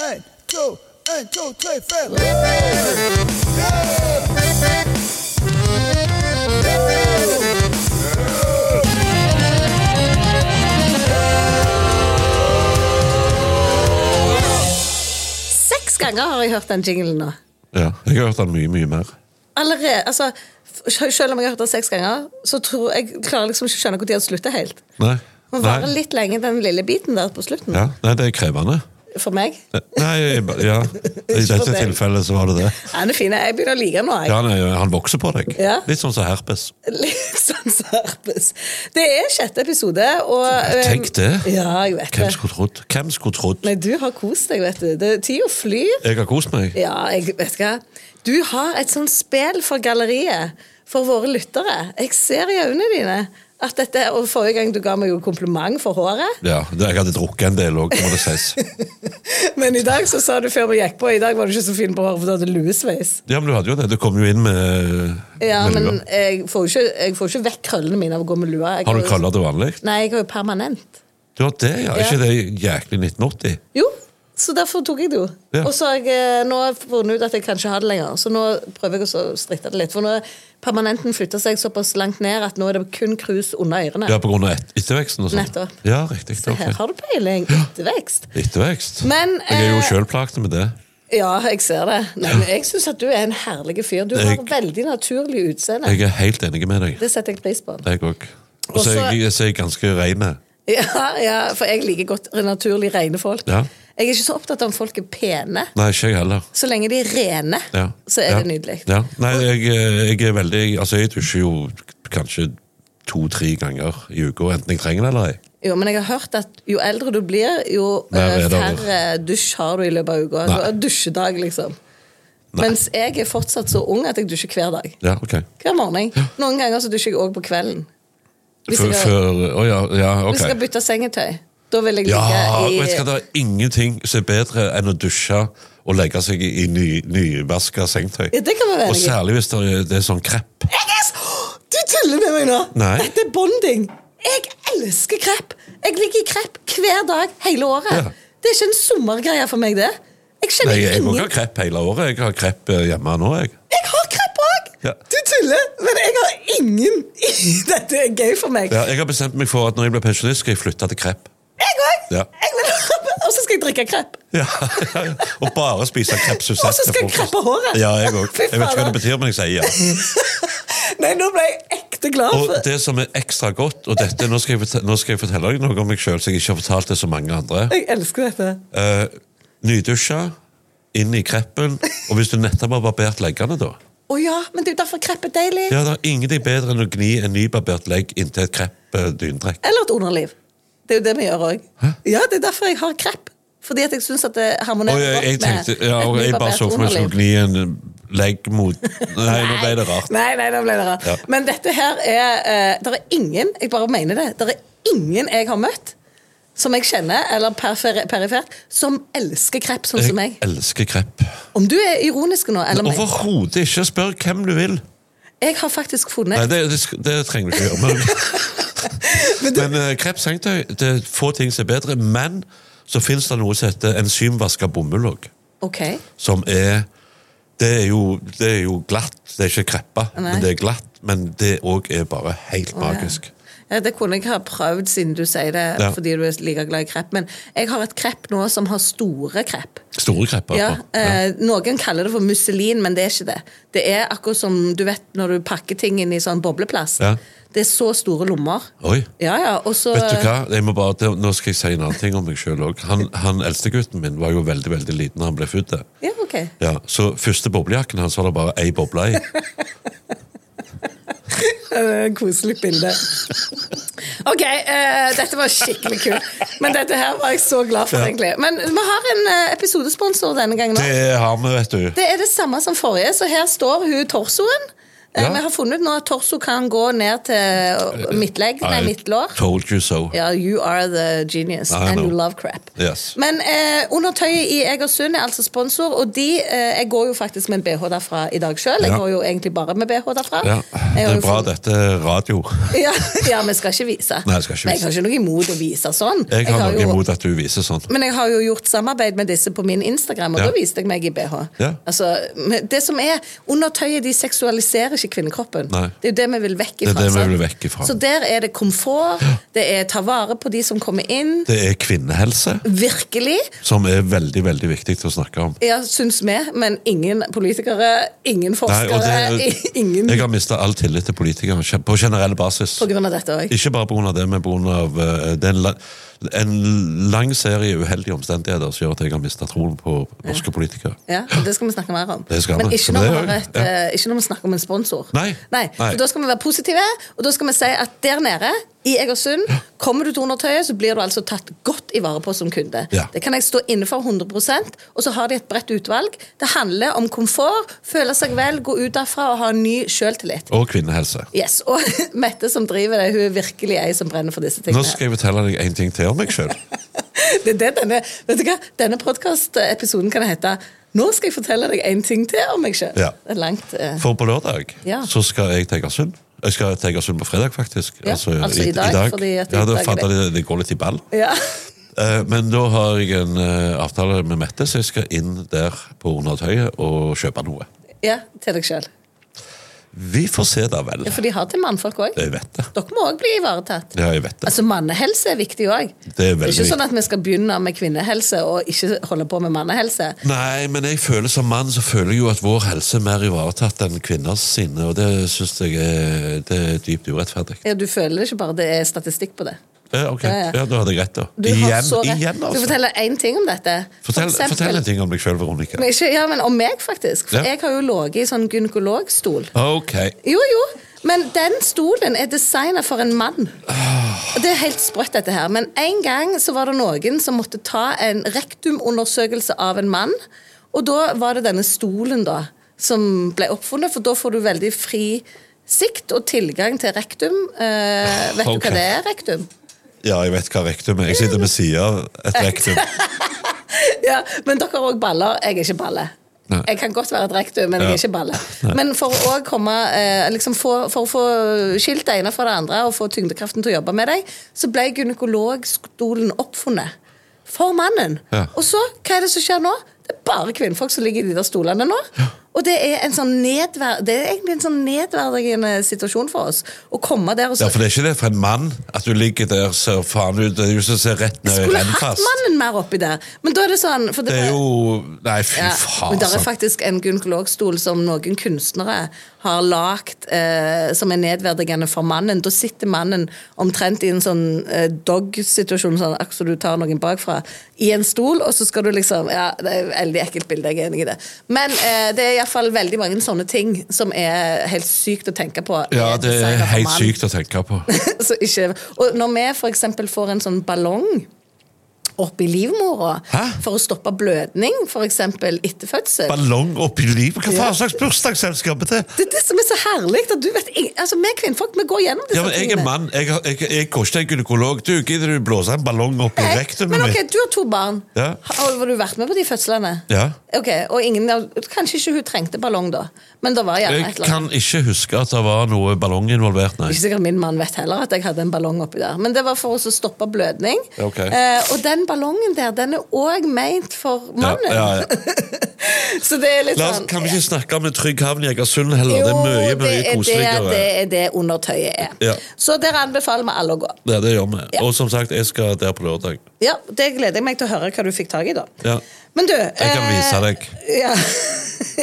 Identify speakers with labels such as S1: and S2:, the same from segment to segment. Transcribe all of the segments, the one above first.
S1: En, to, en, to, tre, fem.
S2: Seks ganger har jeg hørt den jinglen nå.
S3: Ja, jeg har hørt den mye, mye mer.
S2: Allerede, altså, f- Selv om jeg har hørt den seks ganger, så tror jeg klarer liksom ikke å skjønne når den slutter helt.
S3: Nei.
S2: Den varer litt lenge, den lille biten der på slutten.
S3: Ja, nei, det er krevende.
S2: For meg.
S3: Nei, jeg, ba- ja. I
S2: Ikke for
S3: dette
S2: deg.
S3: tilfellet så var det det.
S2: Den er fin. Jeg begynner å like den nå. jeg.
S3: Ja, nei, han vokser på deg.
S2: Ja.
S3: Litt sånn som herpes.
S2: Litt sånn serpes. Det er sjette episode, og eh,
S3: Tenk det.
S2: Ja, jeg vet
S3: Hvem
S2: det.
S3: skulle trodd? Hvem skulle trodd?
S2: Nei, du har kost deg, vet du. Det- Tida flyr.
S3: Jeg har kost meg.
S2: Ja, jeg vet du hva. Du har et sånt spill for galleriet, for våre lyttere. Jeg ser i øynene dine at dette Og forrige gang du ga meg jo kompliment for håret,
S3: Ja, det- jeg hadde drukket en del òg, må det sies.
S2: men i dag så sa du før vi gikk på, i dag var du ikke så fin på håret, for du hadde luesveis.
S3: Ja, men du hadde jo det. Du kom jo inn med,
S2: Ja,
S3: med lua.
S2: men jeg får jo ikke, jeg får jo ikke vekk krøllene mine av å gå med lua. Jeg
S3: Har du
S2: jo-
S3: krøller til vanlig?
S2: Nei, jeg har jo permanent.
S3: Du har det, ja. Er
S2: Ja.
S3: ikke det jæklig 1980?
S2: Jo, så derfor tok jeg det jo.
S3: Ja.
S2: Og så har jeg eh, nå funnet ut at jeg kan ikke ha det lenger, så nå prøver jeg å så stritte det litt. For nå er permanenten flytter seg såpass langt ned at nå er det kun krus under ørene.
S3: Ja, på grunn av et etterveksten og sånn?
S2: Nettopp.
S3: Ja, riktig.
S2: Så her
S3: ok.
S2: har du peiling. Ettervekst.
S3: Ettervekst.
S2: Men,
S3: jeg er jo
S2: eh,
S3: sjøl plaget med det.
S2: Ja, jeg ser det. Nei, men jeg syns at du er en herlig fyr. Du har
S3: Jeg-
S2: veldig naturlig utseende.
S3: Jeg er helt enig med deg.
S2: Det setter jeg pris på.
S3: Jeg òg. Og så
S2: Også-
S3: er jeg, så er jeg ganske rein.
S2: Ja, ja, for jeg liker godt naturlig rene folk.
S3: Ja.
S2: Jeg er ikke så opptatt av om folk er pene.
S3: Nei, ikke jeg heller.
S2: Så lenge de er rene,
S3: Ja.
S2: så er
S3: ja.
S2: det nydelig.
S3: Ja. Nei, jeg, jeg er veldig Altså, jeg dusjer jo kanskje to-tre ganger i uka, enten jeg trenger det eller ei.
S2: Jo, men jeg har hørt at jo eldre du blir, jo
S3: Mer
S2: eh,
S3: er det over.
S2: færre dusj har du i løpet av uka. Du
S3: Nei.
S2: har dusjedag, liksom.
S3: Nei.
S2: Mens jeg er fortsatt så ung at jeg dusjer hver dag.
S3: Ja, ok.
S2: Hver morgen. Noen ganger så dusjer jeg òg på kvelden. Hvis
S3: Før
S2: jeg,
S3: Å ja, ja,
S2: hvis jeg skal
S3: ok.
S2: bytte sengetøy, da vil jeg
S3: Ja,
S2: ligge
S3: vet du hva,
S2: i
S3: det er ingenting som er bedre enn å dusje og legge seg i ny, nyvaska sengetøy.
S2: Ja, det kan vi være
S3: Og
S2: enig i.
S3: særlig hvis det er, det er sånn krepp.
S2: Jeg er så... Du tuller med meg nå!
S3: Nei.
S2: Dette er bonding! Jeg elsker krepp! Jeg ligger i krepp hver dag hele året.
S3: Ja.
S2: Det er ikke en sommergreie for meg, det. Jeg
S3: Nei,
S2: kjenner
S3: jeg må ikke
S2: ingen
S3: ha krepp hele året. Jeg har krepp eh, hjemme nå, jeg.
S2: Jeg har krepp òg!
S3: Ja.
S2: Du tuller, men jeg har ingen Dette er gøy for meg.
S3: Ja, jeg har bestemt meg for at når jeg blir pensjonist, skal jeg flytte til krepp.
S2: Jeg òg!
S3: Ja.
S2: Jeg vil ha- Og så skal jeg drikke krepp.
S3: Ja, og bare spise kreppsutsatt.
S2: Og så skal jeg kreppe håret.
S3: Ja, jeg òg.
S2: Fy
S3: Jeg vet ikke hva
S2: fader.
S3: det betyr, men jeg sier ja.
S2: Nei, nå ble jeg ekte glad.
S3: Og
S2: for
S3: det som er ekstra godt, og dette, nå skal jeg, fortelle, nå skal jeg fortelle deg noe om meg sjøl som jeg ikke har fortalt til så mange andre.
S2: Jeg elsker dette.
S3: Uh, Nydusja, inn i kreppen, og hvis du nettopp har barbert leggene, da
S2: Å ja, men det er jo derfor krepp er deilig.
S3: Ja, det er ingenting bedre enn å gni en nybarbert legg inntil et krepp eh, dyndrekk.
S2: Eller et underliv. Det er jo det vi gjør òg. Ja, det er derfor jeg har krepp. Fordi at jeg syns at det
S3: Og
S2: harmonerer
S3: jeg, jeg
S2: godt med
S3: tenkte, ja, og
S2: et
S3: jeg bare
S2: nybarbert
S3: så for meg sånn- jeg
S2: underliv.
S3: skulle gni en legg mot Nei, nå ble det rart.
S2: Nei, nei, da ble det rart.
S3: Ja.
S2: Men dette her er eh, Det er ingen, jeg bare mener det, det er ingen jeg har møtt som jeg kjenner, eller perfer- perifert, som elsker kreps sånn som
S3: Jeg
S2: meg.
S3: elsker krepp.
S2: Om du er ironisk nå, eller meg
S3: Overhodet ikke. Spør hvem du vil.
S2: Jeg har faktisk
S3: Nei,
S2: funnet
S3: det, det, sk- det trenger du ikke gjøre. Men, men eh, krepssengetøy, det er få ting som er bedre. Men så fins det noe som heter enzymvaska bomull òg.
S2: Ok.
S3: Som er det er, jo, det er jo glatt. Det er ikke kreppa,
S2: Nei.
S3: men det er glatt. Men det òg er bare helt magisk.
S2: Ja, det kunne jeg ha prøvd, siden du sier det
S3: Ja.
S2: fordi du er like glad i krepp. Men jeg har et krepp nå som har store krepp.
S3: Store krepper.
S2: Ja,
S3: bare. Ja.
S2: eh, noen kaller det for musselin, men det er ikke det. Det er akkurat som du vet når du pakker ting inn i sånn bobleplast.
S3: Ja.
S2: Det er så store lommer.
S3: Oi.
S2: Ja, ja, og så...
S3: Vet du hva? Jeg må bare, det- nå skal jeg si en annen ting om meg sjøl òg. Han, han eldste gutten min var jo veldig veldig liten da han ble født. der.
S2: Ja, ok.
S3: Ja, så første boblejakken hans var det bare ei boble i.
S2: Eh, Koselig bilde. Ok, eh, dette var skikkelig kult. Men dette her var jeg så glad for,
S3: Ja.
S2: egentlig. Men vi har en eh, episodesponsor denne gangen òg.
S3: Det har vi, vet du.
S2: Det er det samme som forrige, så her står hun torsoen. Eh,
S3: Ja. Eh,
S2: Vi har funnet ut nå at torso kan gå ned til midtlegg, nei,
S3: I
S2: midtlår.
S3: Told you so.
S2: Ja, you are the genius,
S3: I
S2: and you
S3: know.
S2: love crap.
S3: Yes.
S2: Men eh, Undertøyet i Egersund er altså sponsor, og de eh, Jeg går jo faktisk med en BH derfra i dag sjøl. Jeg
S3: Ja.
S2: går jo egentlig bare med BH derfra.
S3: Ja,
S2: Jeg
S3: Det
S2: har
S3: er
S2: jo
S3: bra,
S2: funnet-
S3: dette er radio.
S2: Ja, ja, vi skal ikke vise.
S3: Nei, jeg skal ikke
S2: Men jeg har
S3: vise.
S2: ikke noe imot å vise sånn.
S3: Jeg har noe
S2: jo,
S3: imot at du viser sånn.
S2: Men jeg har jo gjort samarbeid med disse på min Instagram, og
S3: Ja.
S2: da viste jeg meg i BH.
S3: Ja.
S2: Altså, men det som er, Undertøyet de seksualiserer ikke kvinnekroppen.
S3: Nei.
S2: Det er jo det vi vil vekk
S3: Det er
S2: ifra.
S3: det vi
S2: sant?
S3: vil vekk ifra.
S2: Så der er det komfort, det er ta vare på de som kommer inn.
S3: Det er kvinnehelse,
S2: Virkelig.
S3: som er veldig veldig viktig å snakke om.
S2: Ja, syns vi, men ingen politikere, ingen
S3: Nei, og
S2: forskere,
S3: det,
S2: ingen
S3: jeg har mista all tillit til politikere kje- på generell basis.
S2: på grunn av dette òg.
S3: Ikke bare pga. det, men pga. eh, det er en, lang, en lang serie uheldige omstendigheter som gjør at jeg har mista troen på norske politikere.
S2: Ja, og Det skal vi snakke mer om.
S3: Det skal
S2: Men
S3: vi.
S2: ikke
S3: Så
S2: når,
S3: det
S2: vi
S3: er
S2: har
S3: jo-
S2: et, eh, ikke når vi snakker om en sponsor.
S3: Nei. Nei.
S2: For Da skal vi være positive, og da skal vi si at der nede, i Egersund, kommer du til undertøyet, så blir du altså tatt godt i vare på som kunde.
S3: Ja.
S2: Det kan jeg stå inne for 100 og så har de et bredt utvalg. Det handler om komfort, føle seg vel, gå ut derfra og ha en ny sjøltillit.
S3: Og kvinnehelse.
S2: Yes, Og Mette som driver det, hun er virkelig ei som brenner for disse
S3: Nå
S2: tingene.
S3: skal jeg fortelle deg en ting til om meg sjøl.
S2: Det er det denne vet du hva? Denne podkast-episoden kan hete 'Nå skal jeg fortelle deg en ting til om meg sjøl'.
S3: Ja.
S2: Det er langt eh.
S3: For på lørdag
S2: Ja.
S3: så skal jeg til Egersund. Jeg skal til Egersund på fredag, faktisk.
S2: Ja, altså i dag, fordi at
S3: ja,
S2: i dag
S3: da
S2: er
S3: fant jeg
S2: det-
S3: det, det går litt i ball.
S2: Ja.
S3: Eh, Men da har jeg en eh, avtale med Mette, så jeg skal inn der på Undertøyet og kjøpe noe.
S2: ja, til deg sjøl.
S3: Vi får se da vel.
S2: Ja, for de har til mannfolk òg.
S3: Jeg vet det.
S2: Dere må òg bli ivaretatt.
S3: Ja, jeg vet det.
S2: Altså, Mannehelse er viktig òg.
S3: Det er veldig
S2: ikke sånn
S3: viktig.
S2: at vi skal begynne med kvinnehelse og ikke holde på med mannehelse.
S3: Nei, men jeg føler som mann så føler jeg jo at vår helse er mer ivaretatt enn kvinners sine, og det syns jeg er, det er dypt urettferdig.
S2: Ja, Du føler det ikke bare, det er statistikk på det.
S3: Ja, ok.
S2: Ja, ja.
S3: Ja, da hadde jeg rett, da.
S2: Du har
S3: igjen,
S2: så rett.
S3: igjen,
S2: Skal jeg
S3: altså.
S2: fortelle én ting om dette? For
S3: Fortell,
S2: eksempel-
S3: fortell en ting om deg sjøl, Veronica.
S2: Men ikke, ja, men om meg, faktisk. For
S3: Ja.
S2: jeg har jo ligget i sånn gynekologstol.
S3: Ok.
S2: Jo, jo. Men den stolen er designet for en mann. Og Det er helt sprøtt, dette her. Men en gang så var det noen som måtte ta en rektumundersøkelse av en mann. Og da var det denne stolen da som ble oppfunnet, for da får du veldig fri sikt og tilgang til rektum. Eh, vet du
S3: Ok.
S2: hva det er, rektum?
S3: Ja, jeg vet hva rektum er. Jeg sitter ved sida av et rektum.
S2: Ja, men dere har òg baller. Jeg er ikke balle.
S3: Nei.
S2: Jeg kan godt være et rektum, men jeg
S3: Ja.
S2: er ikke balle. Men for å, også komme, eh, liksom få, for å få skilt det ene fra det andre og få tyngdekraften til å jobbe med deg, så ble gynekologstolen oppfunnet. For mannen.
S3: Ja.
S2: Og så, hva er det som skjer nå? Det er bare kvinnfolk som ligger i de der stolene nå. Og det er, en sånn nedver det er egentlig en sånn nedverdigende situasjon for oss. Å komme der og så
S3: Ja, for det er ikke det for en mann at du ligger der ser faen ut. Det er jo som å se rett ned i
S2: Skulle hatt
S3: rennfast.
S2: mannen mer oppi der. Men da er det sånn for
S3: Det er
S2: var-
S3: jo Nei, fy
S2: Ja,
S3: faen. altså.
S2: men det er
S3: sant.
S2: faktisk en gynekologstol som noen kunstnere har lagt eh, som er nedverdigende for mannen. Da sitter mannen omtrent i en sånn eh, dog-situasjon, sånn akkurat som du tar noen bakfra, i en stol, og så skal du liksom Ja, det er et veldig ekkelt bilde, jeg er enig i det. Men eh, det er iallfall veldig mange sånne ting som er helt sykt å tenke på.
S3: Ja, det er
S2: designet for
S3: helt
S2: mann.
S3: sykt å tenke på.
S2: så ikke, og når vi for eksempel får en sånn ballong opp i livmora
S3: Hæ?
S2: for å stoppe blødning, f.eks. etter fødsel.
S3: Ballong oppi livet? Hva faen slags bursdagsselskap er det?
S2: Det er det som er så herlig. at du vet, ing- altså, Vi kvinnfolk vi går gjennom disse
S3: Ja, men jeg er
S2: tingene.
S3: mann, jeg, har- jeg, jeg går ikke til en gynekolog. Du, gidder du blåse en ballong opp i
S2: Nei,
S3: rektumet
S2: Men ok,
S3: mitt?
S2: du har to barn.
S3: Ja.
S2: Har Oliver, du vært med på de fødslene?
S3: Ja.
S2: Ok, og ingen, av- Kanskje ikke hun trengte ballong, da. Men det var gjerne
S3: Jeg
S2: et eller
S3: kan
S2: annet.
S3: ikke huske at det var noe ballong involvert, nei.
S2: Ikke sikkert min mann vet heller at jeg hadde en ballong oppi der. Men det var for å stoppe blødning.
S3: Ok.
S2: Eh, og den ballongen der, den er òg meint for
S3: Ja,
S2: mannen.
S3: ja, ja.
S2: Så det er litt
S3: La oss,
S2: sånn
S3: kan vi ikke snakke om en trygg havn i Egersund heller? det er mye,
S2: det
S3: mye
S2: er det,
S3: koseligere.
S2: det er det undertøyet er.
S3: Ja.
S2: Så der anbefaler vi alle å gå.
S3: Ja, det gjør vi.
S2: Ja.
S3: Og som sagt, jeg skal der på lørdag.
S2: Ja, Det gleder jeg meg til å høre hva du fikk tak i, da.
S3: Ja.
S2: Men du Jeg
S3: kan vise deg.
S2: Ja,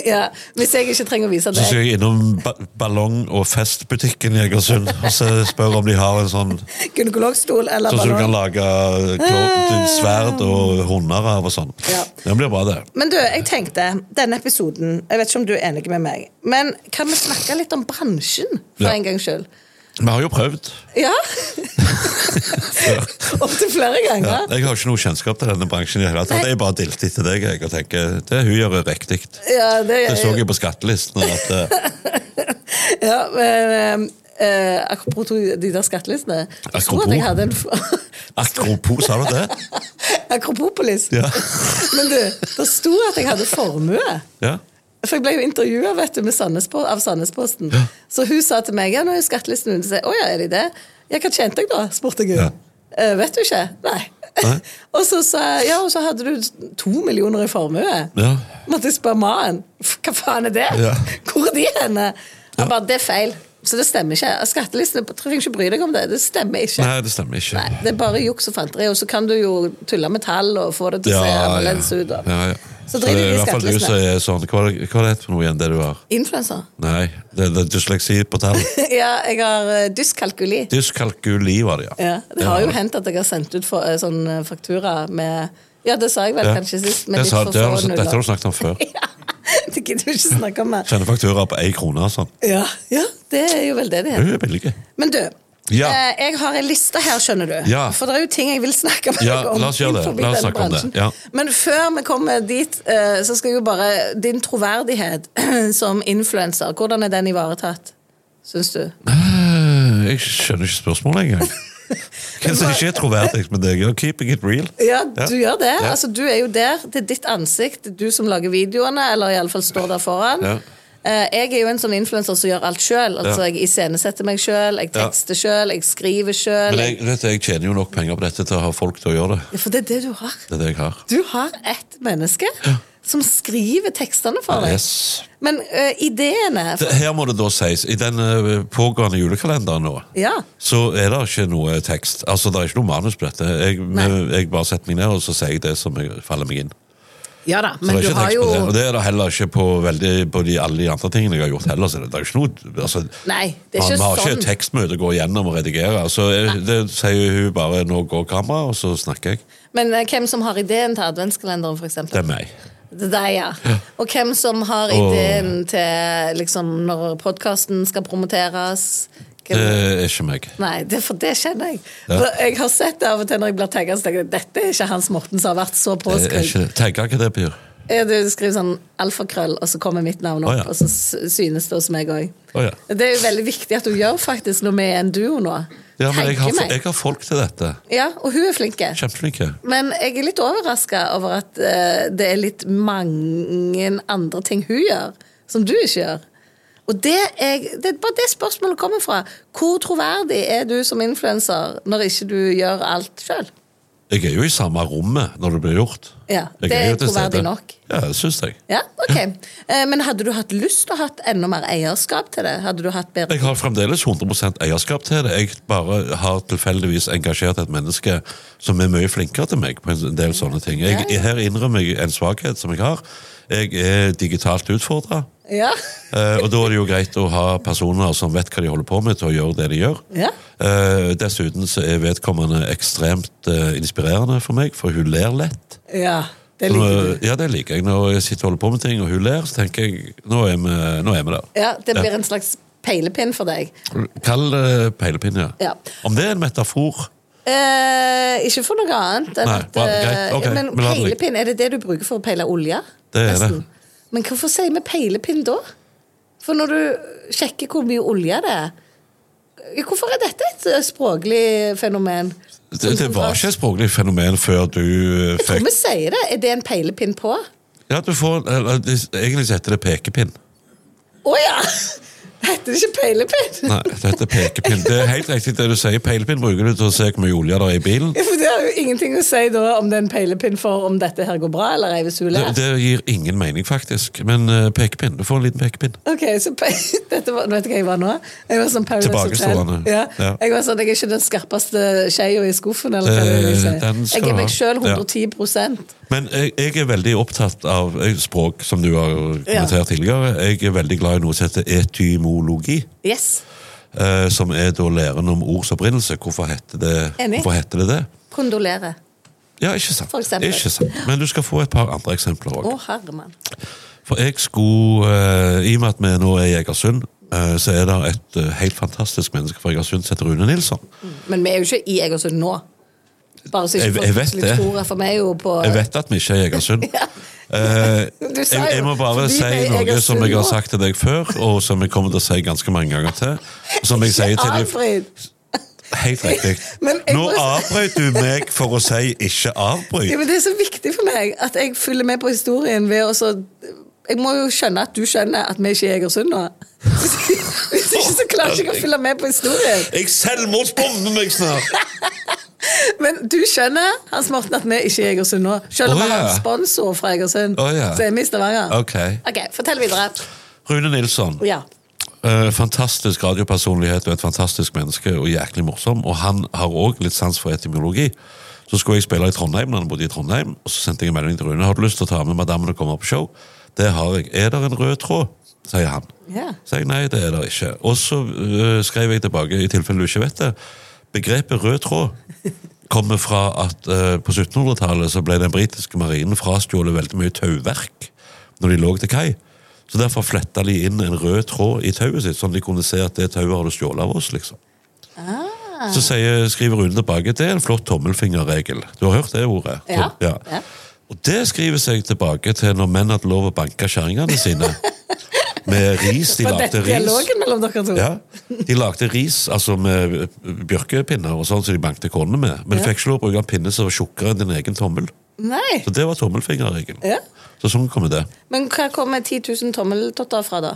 S2: ja. Hvis jeg ikke trenger å vise
S3: Så
S2: deg.
S3: skal jeg innom ba ballong- og festbutikken i Egersund og så spørre om de har en sånn
S2: Gynekologstol eller
S3: Sånn som du kan
S2: ballong.
S3: lage klo- sverd og hunder av og sånn.
S2: Eh. Ja.
S3: Det blir bra, det.
S2: Men du, jeg tenkte, denne episoden Jeg vet ikke om du er enig med meg, men kan vi snakke litt om bransjen for
S3: Ja.
S2: en gangs skyld?
S3: Vi har jo prøvd.
S2: Ja? Opptil flere
S3: Ja.
S2: ganger.
S3: Jeg har ikke noe kjennskap til denne bransjen. i det hele tatt.
S2: Nei.
S3: Jeg bare dilter til deg jeg, og tenker det hun gjør, er riktig.
S2: Ja, det,
S3: Det så jeg på skattelisten. at eh,
S2: ja, men, eh, Apropos de der skattelistene. Jeg tror at
S3: Apropos?
S2: jeg hadde en
S3: Akropos, sa du det?
S2: Akropopolis.
S3: Ja.
S2: Men du, det sto at jeg hadde formue.
S3: ja.
S2: For jeg ble jo intervjua av Sandnesposten. Så hun sa til meg ja, når skattelisten hun sa, Å ja, er de det? Ja, hva tjente jeg da? spurte jeg henne.
S3: Ja.
S2: «Eh, vet du ikke? Nei.
S3: Nei.
S2: og så sa jeg ja, og så hadde du to millioner i formue.
S3: Ja.
S2: Måtte jeg spørre mannen. «F- Hva faen er det?
S3: Ja.
S2: Hvor er de henne? Han bare det er feil. Så det stemmer ikke. Skattelisten jeg trenger ikke bry deg om det. Det stemmer ikke.
S3: Nei, det stemmer ikke.
S2: Nei, det er bare juks og fanteri, og så kan du jo tulle med tall og få det til å se annerledes ut. og-
S3: ja, ja.
S2: Så driter
S3: det
S2: de
S3: er i
S2: i
S3: hvert fall du som
S2: skattelistene.
S3: er sånn Hva hva er det for noe igjen, det du har?
S2: Influencer.
S3: Nei, det, det er dysleksi på tall.
S2: Ja, jeg har eh, dyskalkuli.
S3: Dyskalkuli var det,
S2: Ja, det har jo hendt at jeg har sendt ut for, eh, sånn eh, faktura med Ja, det sa jeg vel
S3: Ja.
S2: kanskje sist, med
S3: Det
S2: litt
S3: sa-
S2: for
S3: det har
S2: få
S3: du- Dette har du
S2: nuller.
S3: snakket om før.
S2: Ja, det gidder vi ikke snakke om mer.
S3: Sender fakturer på én krone og sånn.
S2: Ja, ja, det er jo vel det det
S3: Hun
S2: heter.
S3: er billig.
S2: Men du,
S3: Ja.
S2: eh, jeg har en liste her, skjønner du.
S3: Ja.
S2: For det er jo ting jeg vil snakke med
S3: Ja,
S2: deg om.
S3: la oss gjøre det.
S2: innenfor
S3: La oss
S2: denne
S3: snakke om det,
S2: bransjen.
S3: ja.
S2: Men før vi kommer dit, eh, så skal jeg jo bare Din troverdighet som influenser, hvordan er den ivaretatt, syns du?
S3: Eh, Jeg skjønner ikke spørsmålet engang. Hva som ikke er troverdig med deg? You're keeping it real.
S2: Ja, du gjør det.
S3: Ja.
S2: Altså, du er jo der. Det er ditt ansikt. Det er du som lager videoene, eller iallfall står der foran.
S3: Ja.
S2: Eh, Jeg er jo en sånn influenser som gjør alt sjøl. Altså,
S3: Ja.
S2: Jeg iscenesetter meg sjøl, jeg
S3: Ja.
S2: tekster sjøl, jeg skriver sjøl.
S3: Men jeg, vet du, jeg tjener jo nok penger på dette til å ha folk til å gjøre det.
S2: Ja, For det er det du har.
S3: Det er det jeg har.
S2: Du har ett menneske som skriver tekstene for deg.
S3: Yes.
S2: Men eh, ideene
S3: Det, her må det da sies, i den eh, pågående julekalenderen nå,
S2: Ja.
S3: så er det ikke noe tekst. Altså, det er ikke noe manus på dette. Jeg,
S2: Nei.
S3: jeg bare setter meg ned, og så sier jeg det som jeg, faller meg inn.
S2: ja da,
S3: Så
S2: men
S3: det er
S2: du
S3: ikke
S2: har
S3: tekst
S2: jo
S3: på det. Og det er det heller ikke på, veldig, på de, alle de andre tingene jeg har gjort heller. Så det, det er jo ikke noe altså,
S2: Nei, det er
S3: man,
S2: ikke
S3: man har ikke
S2: sånn.
S3: et tekstmøte å gå gjennom og redigere. Så jeg, det sier hun bare 'nå går kameraet', og så snakker jeg.
S2: Men eh, hvem som har ideen til adventskalenderen, for eksempel?
S3: Det er meg.
S2: Det der, ja. Og hvem som har ideen til liksom, når podkasten skal promoteres.
S3: Det
S2: Hvem...
S3: er ikke meg.
S2: Nei, det, for det kjenner jeg.
S3: Eh. Ja.
S2: For Jeg har sett det av og til når jeg blir tagget, så tenker jeg dette er ikke Hans Morten som har vært så
S3: Det er
S2: påskrudd.
S3: ikke det. Tagger hva det betyr.
S2: Ja, Du skriver sånn alfakrøll, og så kommer mitt navn opp,
S3: Å, ja.
S2: og så s- synes det hos meg òg.
S3: Å, ja.
S2: Det er jo veldig viktig at du gjør faktisk når vi er en duo nå.
S3: Ja, men jeg
S2: Tagger
S3: har, fo-
S2: meg.
S3: jeg har folk til dette.
S2: Ja, og hun er flink.
S3: Kjempeflinke.
S2: Men jeg er litt overraska over at eh, det er litt mange andre ting hun gjør, som du ikke gjør. Og det er, det er bare det spørsmålet kommer fra. Hvor troverdig er du som influenser når ikke du gjør alt sjøl?
S3: Jeg er jo i samme rommet når det blir gjort.
S2: Ja,
S3: Jeg
S2: det
S3: jo
S2: er
S3: til stede.
S2: troverdig nok.
S3: Ja, det syns jeg.
S2: Ja, ok. Eh, Men hadde du hatt lyst til å ha enda mer eierskap til det? Hadde du hatt bedre
S3: Jeg har fremdeles 100 eierskap til det. Jeg bare har tilfeldigvis engasjert et menneske som er mye flinkere til meg på en del sånne ting. Jeg, her innrømmer jeg en svakhet som jeg har. Jeg er digitalt utfordra.
S2: Ja.
S3: Eh, og da er det jo greit å ha personer som vet hva de holder på med, til å gjøre det de gjør.
S2: Ja.
S3: Eh, dessuten så er vedkommende ekstremt eh, inspirerende for meg, for hun ler lett.
S2: ja det
S3: Nå, eh,
S2: liker du.
S3: ja, det liker jeg. Når jeg sitter og holder på med ting, og hun ler, så tenker jeg nå er vi, nå er vi der.
S2: Ja, det blir en slags peilepinn for deg.
S3: Kall det peilepinn, ja.
S2: Ja.
S3: Om det er en metafor
S2: Eh, ikke for noe annet. Enn
S3: Nei,
S2: at,
S3: bra,
S2: eh,
S3: greit, ok,
S2: Men
S3: men la det ligge.
S2: peilepinn, er det det du bruker for å peile olje?
S3: Det er det.
S2: Nesten. Men hvorfor sier vi peilepinn da? For når du sjekker hvor mye olje det er ja, Hvorfor er dette et eh, språklig fenomen?
S3: Det, det var ikke et språklig fenomen før du eh,
S2: Jeg tror
S3: fikk
S2: vi sier det. Er det en peilepinn på? Å
S3: Ja, du får eller, det- Egentlig så heter det pekepinn.
S2: ja! Heter det ikke peilepinn?
S3: Nei, det heter pekepinn. Det er helt riktig det du sier. Peilepinn bruker du til å se hvor mye olje det er i bilen.
S2: For Det har jo ingenting å si da om det er en peilepinn for om dette her går bra eller ei, hvis hun
S3: Det,
S2: ler.
S3: det gir ingen mening, faktisk. Men eh, pekepinn. Du får en liten pekepinn.
S2: Ok, så pe dette var, Vet du hva jeg var nå? Jeg var sånn Paradise Hotel.
S3: Tilbakestående.
S2: Ja.
S3: Ja.
S2: Jeg var sånn, jeg er ikke den skarpeste skeia i skuffen. Eller hva
S3: Det-
S2: det, jeg,
S3: Eh, den skal
S2: jeg
S3: du
S2: er
S3: ha.
S2: meg sjøl
S3: Ja.
S2: 110
S3: Men jeg, jeg er veldig opptatt av eh, språk, som du har kommentert
S2: Ja.
S3: tidligere. Jeg er veldig glad i noe som heter etymologi.
S2: Yes.
S3: eh, som er da læren om ords opprinnelse. Hvorfor heter det
S2: Enig.
S3: hvorfor heter det? det?
S2: Kondolerer.
S3: Ja, ikke sant.
S2: For eksempel.
S3: ikke sant. Men du skal få et par andre eksempler òg.
S2: Å, herremann.
S3: For jeg skulle, eh, i og med at vi nå er i Egersund, eh, så er det et eh, helt fantastisk menneske fra Egersund som heter Rune Nilsson.
S2: Men vi er jo ikke i Egersund nå. Bare så ikke
S3: Jeg-
S2: folk
S3: jeg vet
S2: plutselig
S3: det.
S2: tror jeg, for vi er jo på
S3: Jeg vet at vi ikke er i Egersund. Eh,
S2: Du
S3: jeg,
S2: sa jo,
S3: jeg må bare
S2: fordi
S3: si
S2: vi er i
S3: noe som jeg
S2: Egersund
S3: har
S2: nå.
S3: sagt til deg før, og som jeg kommer til å si ganske mange ganger til. og Som jeg sier til de
S2: Alfred.
S3: Helt riktig.
S2: Men jeg
S3: Nå
S2: må-
S3: avbrøt du meg for å si 'ikke
S2: Ja,
S3: avbryt'.
S2: men det er så viktig for meg at jeg følger med på historien ved å så Jeg må jo skjønne at du skjønner at vi er ikke er i Egersund nå. Hvis ikke så klarer jeg ikke å følge med på historien.
S3: Jeg selvmordsbomber meg snart!
S2: Men du skjønner Hans Morten, at vi er ikke er i Egersund nå. Selv om
S3: Å,
S2: vi har
S3: ja.
S2: en sponsor fra Egersund,
S3: Å, ja.
S2: så er vi i Stavanger.
S3: Ok.
S2: ok, Fortell videre.
S3: Rune Nilsson.
S2: Ja.
S3: eh, fantastisk radiopersonlighet og et fantastisk menneske og jæklig morsom. Og han har òg litt sans for etymologi. Så skulle jeg spille i Trondheim, når han bodde i Trondheim, og så sendte jeg en melding til Rune. Har du lyst til å ta med madammen og komme opp på show? Det har jeg. Er det en rød tråd? sier han.
S2: Ja.
S3: Så jeg nei, det er det ikke. Og så eh, skrev jeg tilbake, i tilfelle du ikke vet det. Begrepet rød tråd kommer fra at eh, på 1700-tallet så ble den britiske marinen frastjålet veldig mye tauverk når de lå til kai. Så derfor fletta de inn en rød tråd i tauet sitt, sånn at de kunne se at det tauet har du stjålet av oss, liksom. Så sier, skriver Rune tilbake det er en flott tommelfingerregel. Du har hørt det ordet?
S2: Ja, ja.
S3: Og det skriver seg tilbake til når menn hadde lov å banke kjerringene sine. Med ris. De
S2: For
S3: lagde
S2: dette
S3: ris.
S2: dialogen mellom dere to.
S3: Ja, De lagde ris altså med bjørkepinner og sånn som de bankte kornene med. Men de fikk ikke lov å bruke en pinne som var tjukkere enn din egen tommel.
S2: Nei.
S3: Så det var tommelfingerregelen.
S2: Ja.
S3: Så sånn kommer det.
S2: Men hva kommer 10 000 tommeltotter fra, da?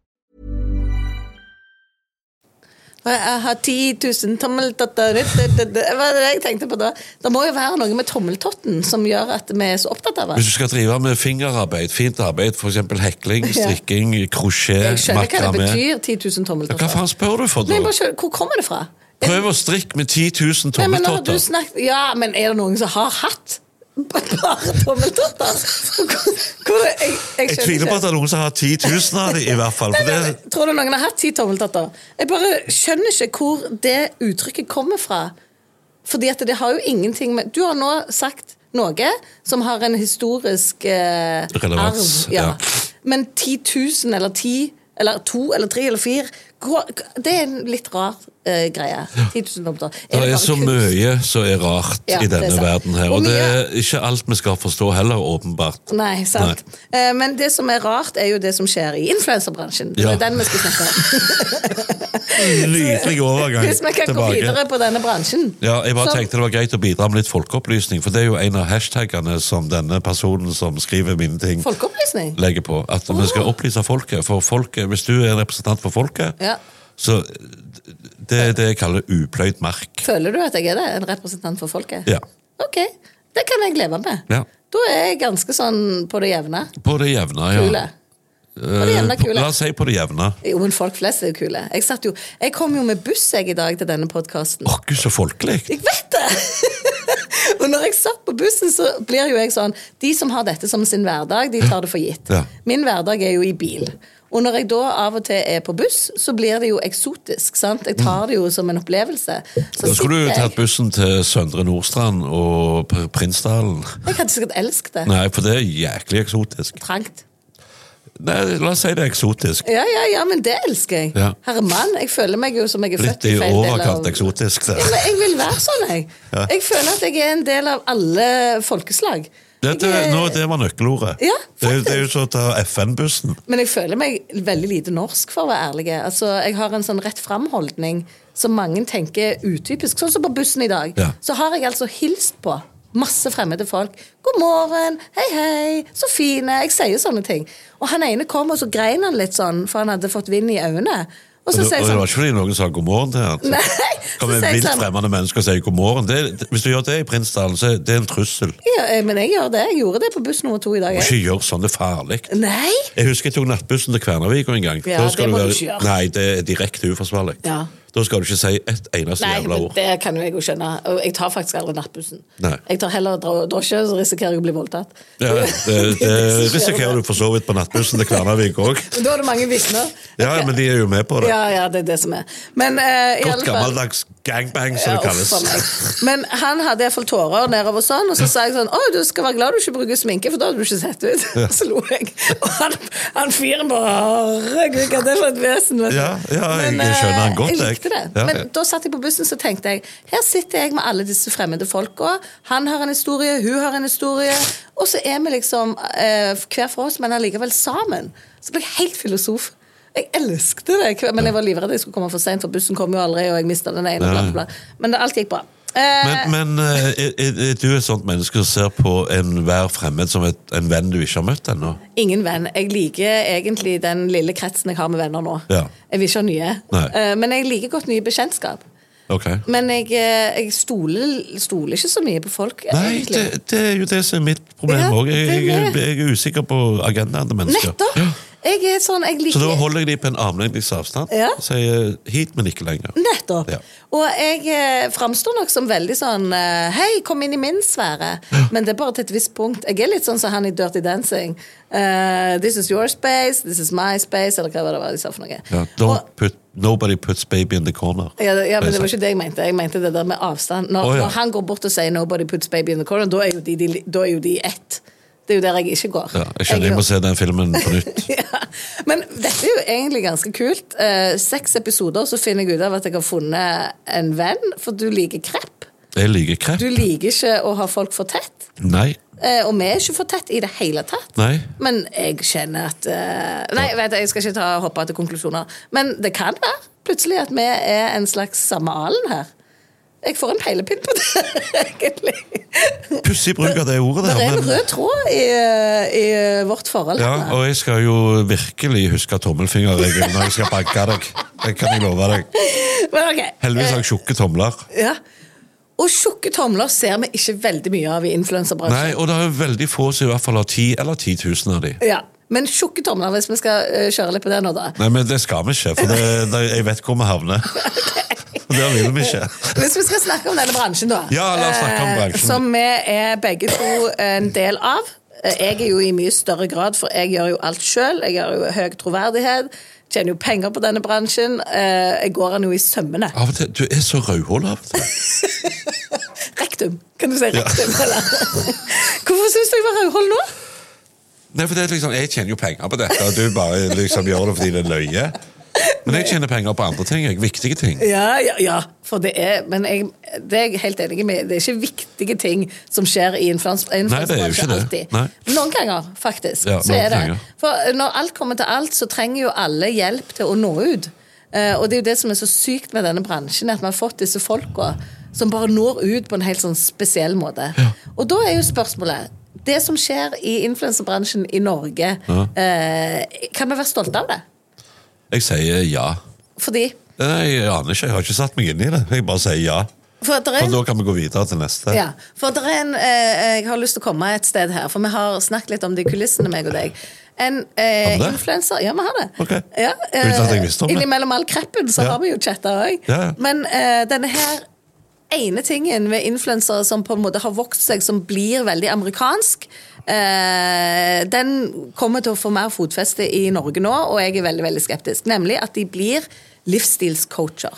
S2: Jeg har 10 000 tommeltotter Hva er det jeg tenkte på da? Det må jo være noe med tommeltotten som gjør at vi er så opptatt av
S3: Hvis
S2: det.
S3: du skal drive med fingerarbeid, fint arbeid, f.eks. hekling, strikking, krosjé,
S2: Jeg skjønner hva det
S3: makramé
S2: betyr, 10 000
S3: Ja, Hva
S2: tommeltotter.
S3: faen spør du for,
S2: Men jeg
S3: da?
S2: bare skjønner, hvor kommer det fra?
S3: Prøv å strikke med 10 000
S2: Nei, men nå har du
S3: tommeltotter.
S2: snakket, ja, men er det noen som har hatt bare tommeltotter? Hvor, jeg, jeg
S3: Jeg
S2: skjønner
S3: tviler på
S2: ikke.
S3: at det er noen som har 10 000 av dem, i hvert fall. For det,
S2: Tror du noen har hatt ti tommeltotter? Jeg bare skjønner ikke hvor det uttrykket kommer fra. Fordi at det har jo ingenting med Du har nå sagt noe som har en historisk eh,
S3: Relevans,
S2: arv. Ja.
S3: ja.
S2: Men 10 000 eller 10 eller 2 eller 3 eller 4 Hva- Det er en litt rar eh, greie. 10 000 dobbelter.
S3: Det er
S2: bare
S3: så
S2: kunst?
S3: mye som er rart
S2: Ja,
S3: i
S2: det er
S3: denne
S2: sant.
S3: verden her,
S2: Og
S3: og det
S2: mye-
S3: er ikke alt vi skal forstå heller, åpenbart.
S2: Nei, sant. Eh, Men det som er rart, er jo det som skjer i influenserbransjen. Det
S3: Ja.
S2: er den vi skal snakke om.
S3: Nydelig overgang
S2: Hvis vi kan gå videre
S3: tilbake.
S2: på denne bransjen.
S3: Ja, jeg bare
S2: Som-
S3: tenkte det var greit å bidra med litt folkeopplysning, for det er jo en av hashtagene som denne personen som skriver mine ting,
S2: Folkeopplysning?
S3: legger på. At vi skal opplyse folket. For folket, hvis du er en representant for folket,
S2: Ja.
S3: så det er det jeg kaller upløyd mark.
S2: Føler du at jeg er det? En representant for folket?
S3: Ja.
S2: Ok, det kan jeg leve med.
S3: ja.
S2: Da er jeg ganske sånn på det jevne.
S3: På det jevne, ja.
S2: Kule.
S3: Eh,
S2: det jevne,
S3: på-
S2: kule.
S3: La oss si på det jevne.
S2: Jo, men folk flest er jo kule. Jeg, satt jo, jeg kom jo med buss jeg i dag til denne podkasten.
S3: Åh, gud, så folkelig.
S2: Jeg vet det! og når jeg satt på bussen, så blir jo jeg sånn De som har dette som sin hverdag, de tar det for gitt.
S3: Ja.
S2: Min hverdag er jo i bil. Og når jeg da av og til er på buss, så blir det jo eksotisk. sant? Jeg tar det jo som en opplevelse. Så
S3: Da skulle du
S2: sitter jeg,
S3: tatt bussen til Søndre Nordstrand og P- Prinsdalen.
S2: jeg hadde sikkert elsket det.
S3: Nei, for det er jæklig eksotisk.
S2: Trangt.
S3: Nei, la oss si det er eksotisk.
S2: Ja, ja, ja, men det elsker jeg.
S3: Ja.
S2: Herre mann, jeg føler meg jo som jeg er
S3: Litt
S2: født i
S3: i
S2: feil del av
S3: overkant eksotisk.
S2: Ja, men
S3: Det.
S2: jeg vil være sånn, jeg.
S3: Ja.
S2: Jeg føler at jeg er en del av alle folkeslag.
S3: Dette,
S2: Jeg er-
S3: nå, det var nøkkelordet.
S2: Ja,
S3: det, er jo- det er jo så å ta FN-bussen.
S2: Men jeg føler meg veldig lite norsk, for å være ærlig. Altså, jeg har en sånn rett fram-holdning som mange tenker er utypisk. Sånn som på bussen i dag.
S3: Ja.
S2: Så har jeg altså hilst på masse fremmede folk. 'God morgen', 'hei, hei', 'så fine'. Jeg sier sånne ting. Og han ene kom, og så grein han litt sånn, for han hadde fått vind i øynene. Og
S3: Og
S2: så
S3: det,
S2: sier
S3: og
S2: jeg
S3: det var
S2: sånn
S3: ikke fordi noen sa god morgen til han.
S2: Nei,
S3: Så Kommer
S2: så
S3: en
S2: sier jeg
S3: vilt
S2: sånn
S3: fremmede menneske og sier god morgen. Det, det- hvis du gjør det i Prinsdalen, så er det en trussel. Du
S2: ja, eh, Men jeg gjør det. Jeg gjorde det på buss nummer to i dag.
S3: må
S2: jeg.
S3: ikke gjøre sånn, det er farlig.
S2: Nei!
S3: Jeg husker jeg tok nattbussen til Kværnervika en gang.
S2: Ja,
S3: Da skal
S2: det må
S3: være-
S2: du ikke gjøre.
S3: Nei, det er direkte uforsvarlig.
S2: Ja.
S3: Da skal du ikke si et eneste
S2: Nei,
S3: jævla
S2: men
S3: ord.
S2: det kan jo jeg jo skjønne. Og jeg tar faktisk aldri nattbussen.
S3: Nei.
S2: Jeg tar heller dro- drosje, så risikerer jeg å bli voldtatt.
S3: Ja, det,
S2: det som
S3: det
S2: skjer
S3: risikerer
S2: med
S3: du for så vidt på nattbussen til Kværnervik òg.
S2: Men da er det mange vitner.
S3: Ja, ja, men de er jo med på det.
S2: Ja, ja, det er det som er. Men, eh, i alle
S3: Godt
S2: fall-
S3: gammeldags gangbang, som det
S2: Ja, uff, for meg.
S3: kalles.
S2: Men han hadde iallfall tårer nedover sånn, og så sa jeg sånn Å, du skal være glad du ikke bruker sminke, for da hadde du ikke sett ut. Så lo jeg. Og han, han fyren bare Herregud, hva er det for et vesen? vet du?»
S3: Ja, ja, jeg-
S2: Men,
S3: jeg skjønner han
S2: eh,
S3: godt,
S2: Jeg
S3: jeg.
S2: likte det.
S3: Ja.
S2: Men da satt jeg på bussen, så tenkte jeg Her sitter jeg med alle disse fremmede folka. Han har en historie, hun har en historie. Og så er vi liksom eh, hver for oss, men allikevel sammen. Så ble jeg helt filosof. Jeg elsket det, hver- men jeg var livredd jeg skulle komme for seint, for bussen kom jo aldri, og jeg mista den ene. Bla, bla, bla. Men det, alt gikk bra. Eh,
S3: Men, men eh, er, er er du et sånt menneske som ser på enhver fremmed som et, en venn du ikke har møtt ennå?
S2: Ingen venn. Jeg liker egentlig den lille kretsen jeg har med venner nå.
S3: Ja.
S2: Jeg vil ikke ha nye.
S3: Nei.
S2: Eh, Men jeg liker godt nye bekjentskap.
S3: Ok.
S2: Men jeg, eh, jeg stoler, stoler ikke så mye på folk.
S3: Nei,
S2: egentlig.
S3: det, det er jo det som er mitt problem
S2: Ja,
S3: òg. jeg,
S2: det er
S3: jeg,
S2: det.
S3: jeg er usikker på agendaen til mennesker.
S2: Nettopp!
S3: Ja.
S2: Jeg er sånn, jeg
S3: Så
S2: liker
S3: da holder jeg de på en armlengdes avstand.
S2: Ja.
S3: Sier hit, men ikke lenger.
S2: Nettopp.
S3: Ja.
S2: Og jeg eh, framstår nok som veldig sånn eh, Hei, kom inn i min sfære. Men det er bare til et visst punkt. Jeg er litt sånn som han i Dirty Dancing. Eh, this is your space, this is my space, eller hva var det var de sa for noe.
S3: Ja,
S2: Og-
S3: don't put, nobody puts baby in the corner.
S2: Ja, det- ja, men
S3: Det
S2: det
S3: er
S2: var
S3: sant.
S2: ikke det jeg mente. Jeg mente det der med avstand. Når,
S3: Å, ja.
S2: når han går bort og sier 'nobody puts baby in the corner', da er jo de, de, da er jo de ett. Det er jo der jeg ikke går.
S3: Ja, jeg skjønner jeg må se den filmen på nytt.
S2: ja. Men dette er jo egentlig ganske kult. Eh, seks episoder, så finner jeg ut av at jeg har funnet en venn, for du liker krepp.
S3: Jeg liker krepp.
S2: Du liker ikke å ha folk for tett.
S3: Nei.
S2: Eh, og vi er ikke for tett i det hele tatt.
S3: Nei.
S2: Men jeg kjenner at eh, Nei, vet du, jeg skal ikke ta, hoppe til konklusjoner. Men det kan være plutselig at vi er en slags samme alen her. Jeg får en peilepinn på det, egentlig.
S3: Pussig bruk av det ordet
S2: Det
S3: der.
S2: er en
S3: men-
S2: rød tråd i, eh, i vårt forhold.
S3: Ja,
S2: her.
S3: og jeg skal jo virkelig huske tommelfingerregelen når jeg skal banke deg. Det kan jeg love deg.
S2: Men ok.
S3: Heldigvis har jeg tjukke tomler.
S2: Ja. Og tjukke tomler ser vi ikke veldig mye av i influenserbransjen.
S3: Nei, og det er jo veldig få som i hvert fall har ti eller ti tusen av de.
S2: Ja. Men tjukke tomler, hvis vi skal eh, kjøre litt på det nå, da.
S3: Nei, men det skal vi ikke, for det, det, jeg vet hvor vi havner. Og Der vil vi ikke.
S2: Hvis vi skal snakke om denne bransjen, da.
S3: Ja, la oss snakke om
S2: eh,
S3: bransjen.
S2: Som vi er begge to en del av. Eh, Jeg er jo i mye større grad, for jeg gjør jo alt sjøl. Jeg har jo høy troverdighet. Tjener jo penger på denne bransjen. eh, Jeg går den jo i sømmene.
S3: Av og til, Du er så rødhåla av og til.
S2: Rektum! Kan du si rektum, eller? Hvorfor syns du jeg var rødhål nå?
S3: Nei, for det er liksom, Jeg tjener jo penger på dette, og du bare liksom gjør det fordi det er løye. Men jeg tjener penger på andre ting. Jeg. Viktige ting.
S2: Ja, ja, ja. For det er Men jeg, det er jeg helt enig med. Det er ikke viktige ting som skjer i influensbransjen.
S3: Nei, det er jo ikke det.
S2: alltid.
S3: Nei.
S2: Noen ganger, faktisk.
S3: Ja,
S2: så
S3: noen
S2: er det.
S3: ganger.
S2: For eh, når alt kommer til alt, så trenger jo alle hjelp til å nå ut. Eh, og det er jo det som er så sykt med denne bransjen, at vi har fått disse folka som bare når ut på en helt sånn spesiell måte. Og da er jo spørsmålet Det som skjer i influenserbransjen i Norge,
S3: Ja.
S2: eh, kan vi være stolte av det?
S3: Jeg sier ja.
S2: Fordi
S3: Nei, jeg aner ikke. Jeg har ikke satt meg inn i det. Jeg bare sier ja.
S2: for at det er
S3: For da kan vi gå videre til neste.
S2: Ja, for det er en, eh, Jeg har lyst til å komme et sted her, for vi har snakket litt om det i kulissene, meg og deg. En eh,
S3: Har vi det?
S2: influenser Ja, vi har det.
S3: Ok.
S2: Ja, eh,
S3: Uten at jeg visste om det.
S2: Innimellom all kreppen så
S3: Ja.
S2: har vi jo chatta òg.
S3: Ja, ja.
S2: Men eh, denne her ene tingen med influensere som på en måte har vokst seg, som blir veldig amerikansk, eh, den kommer til å få mer fotfeste i Norge nå, og jeg er veldig, veldig skeptisk. Nemlig at de blir livsstilscoacher.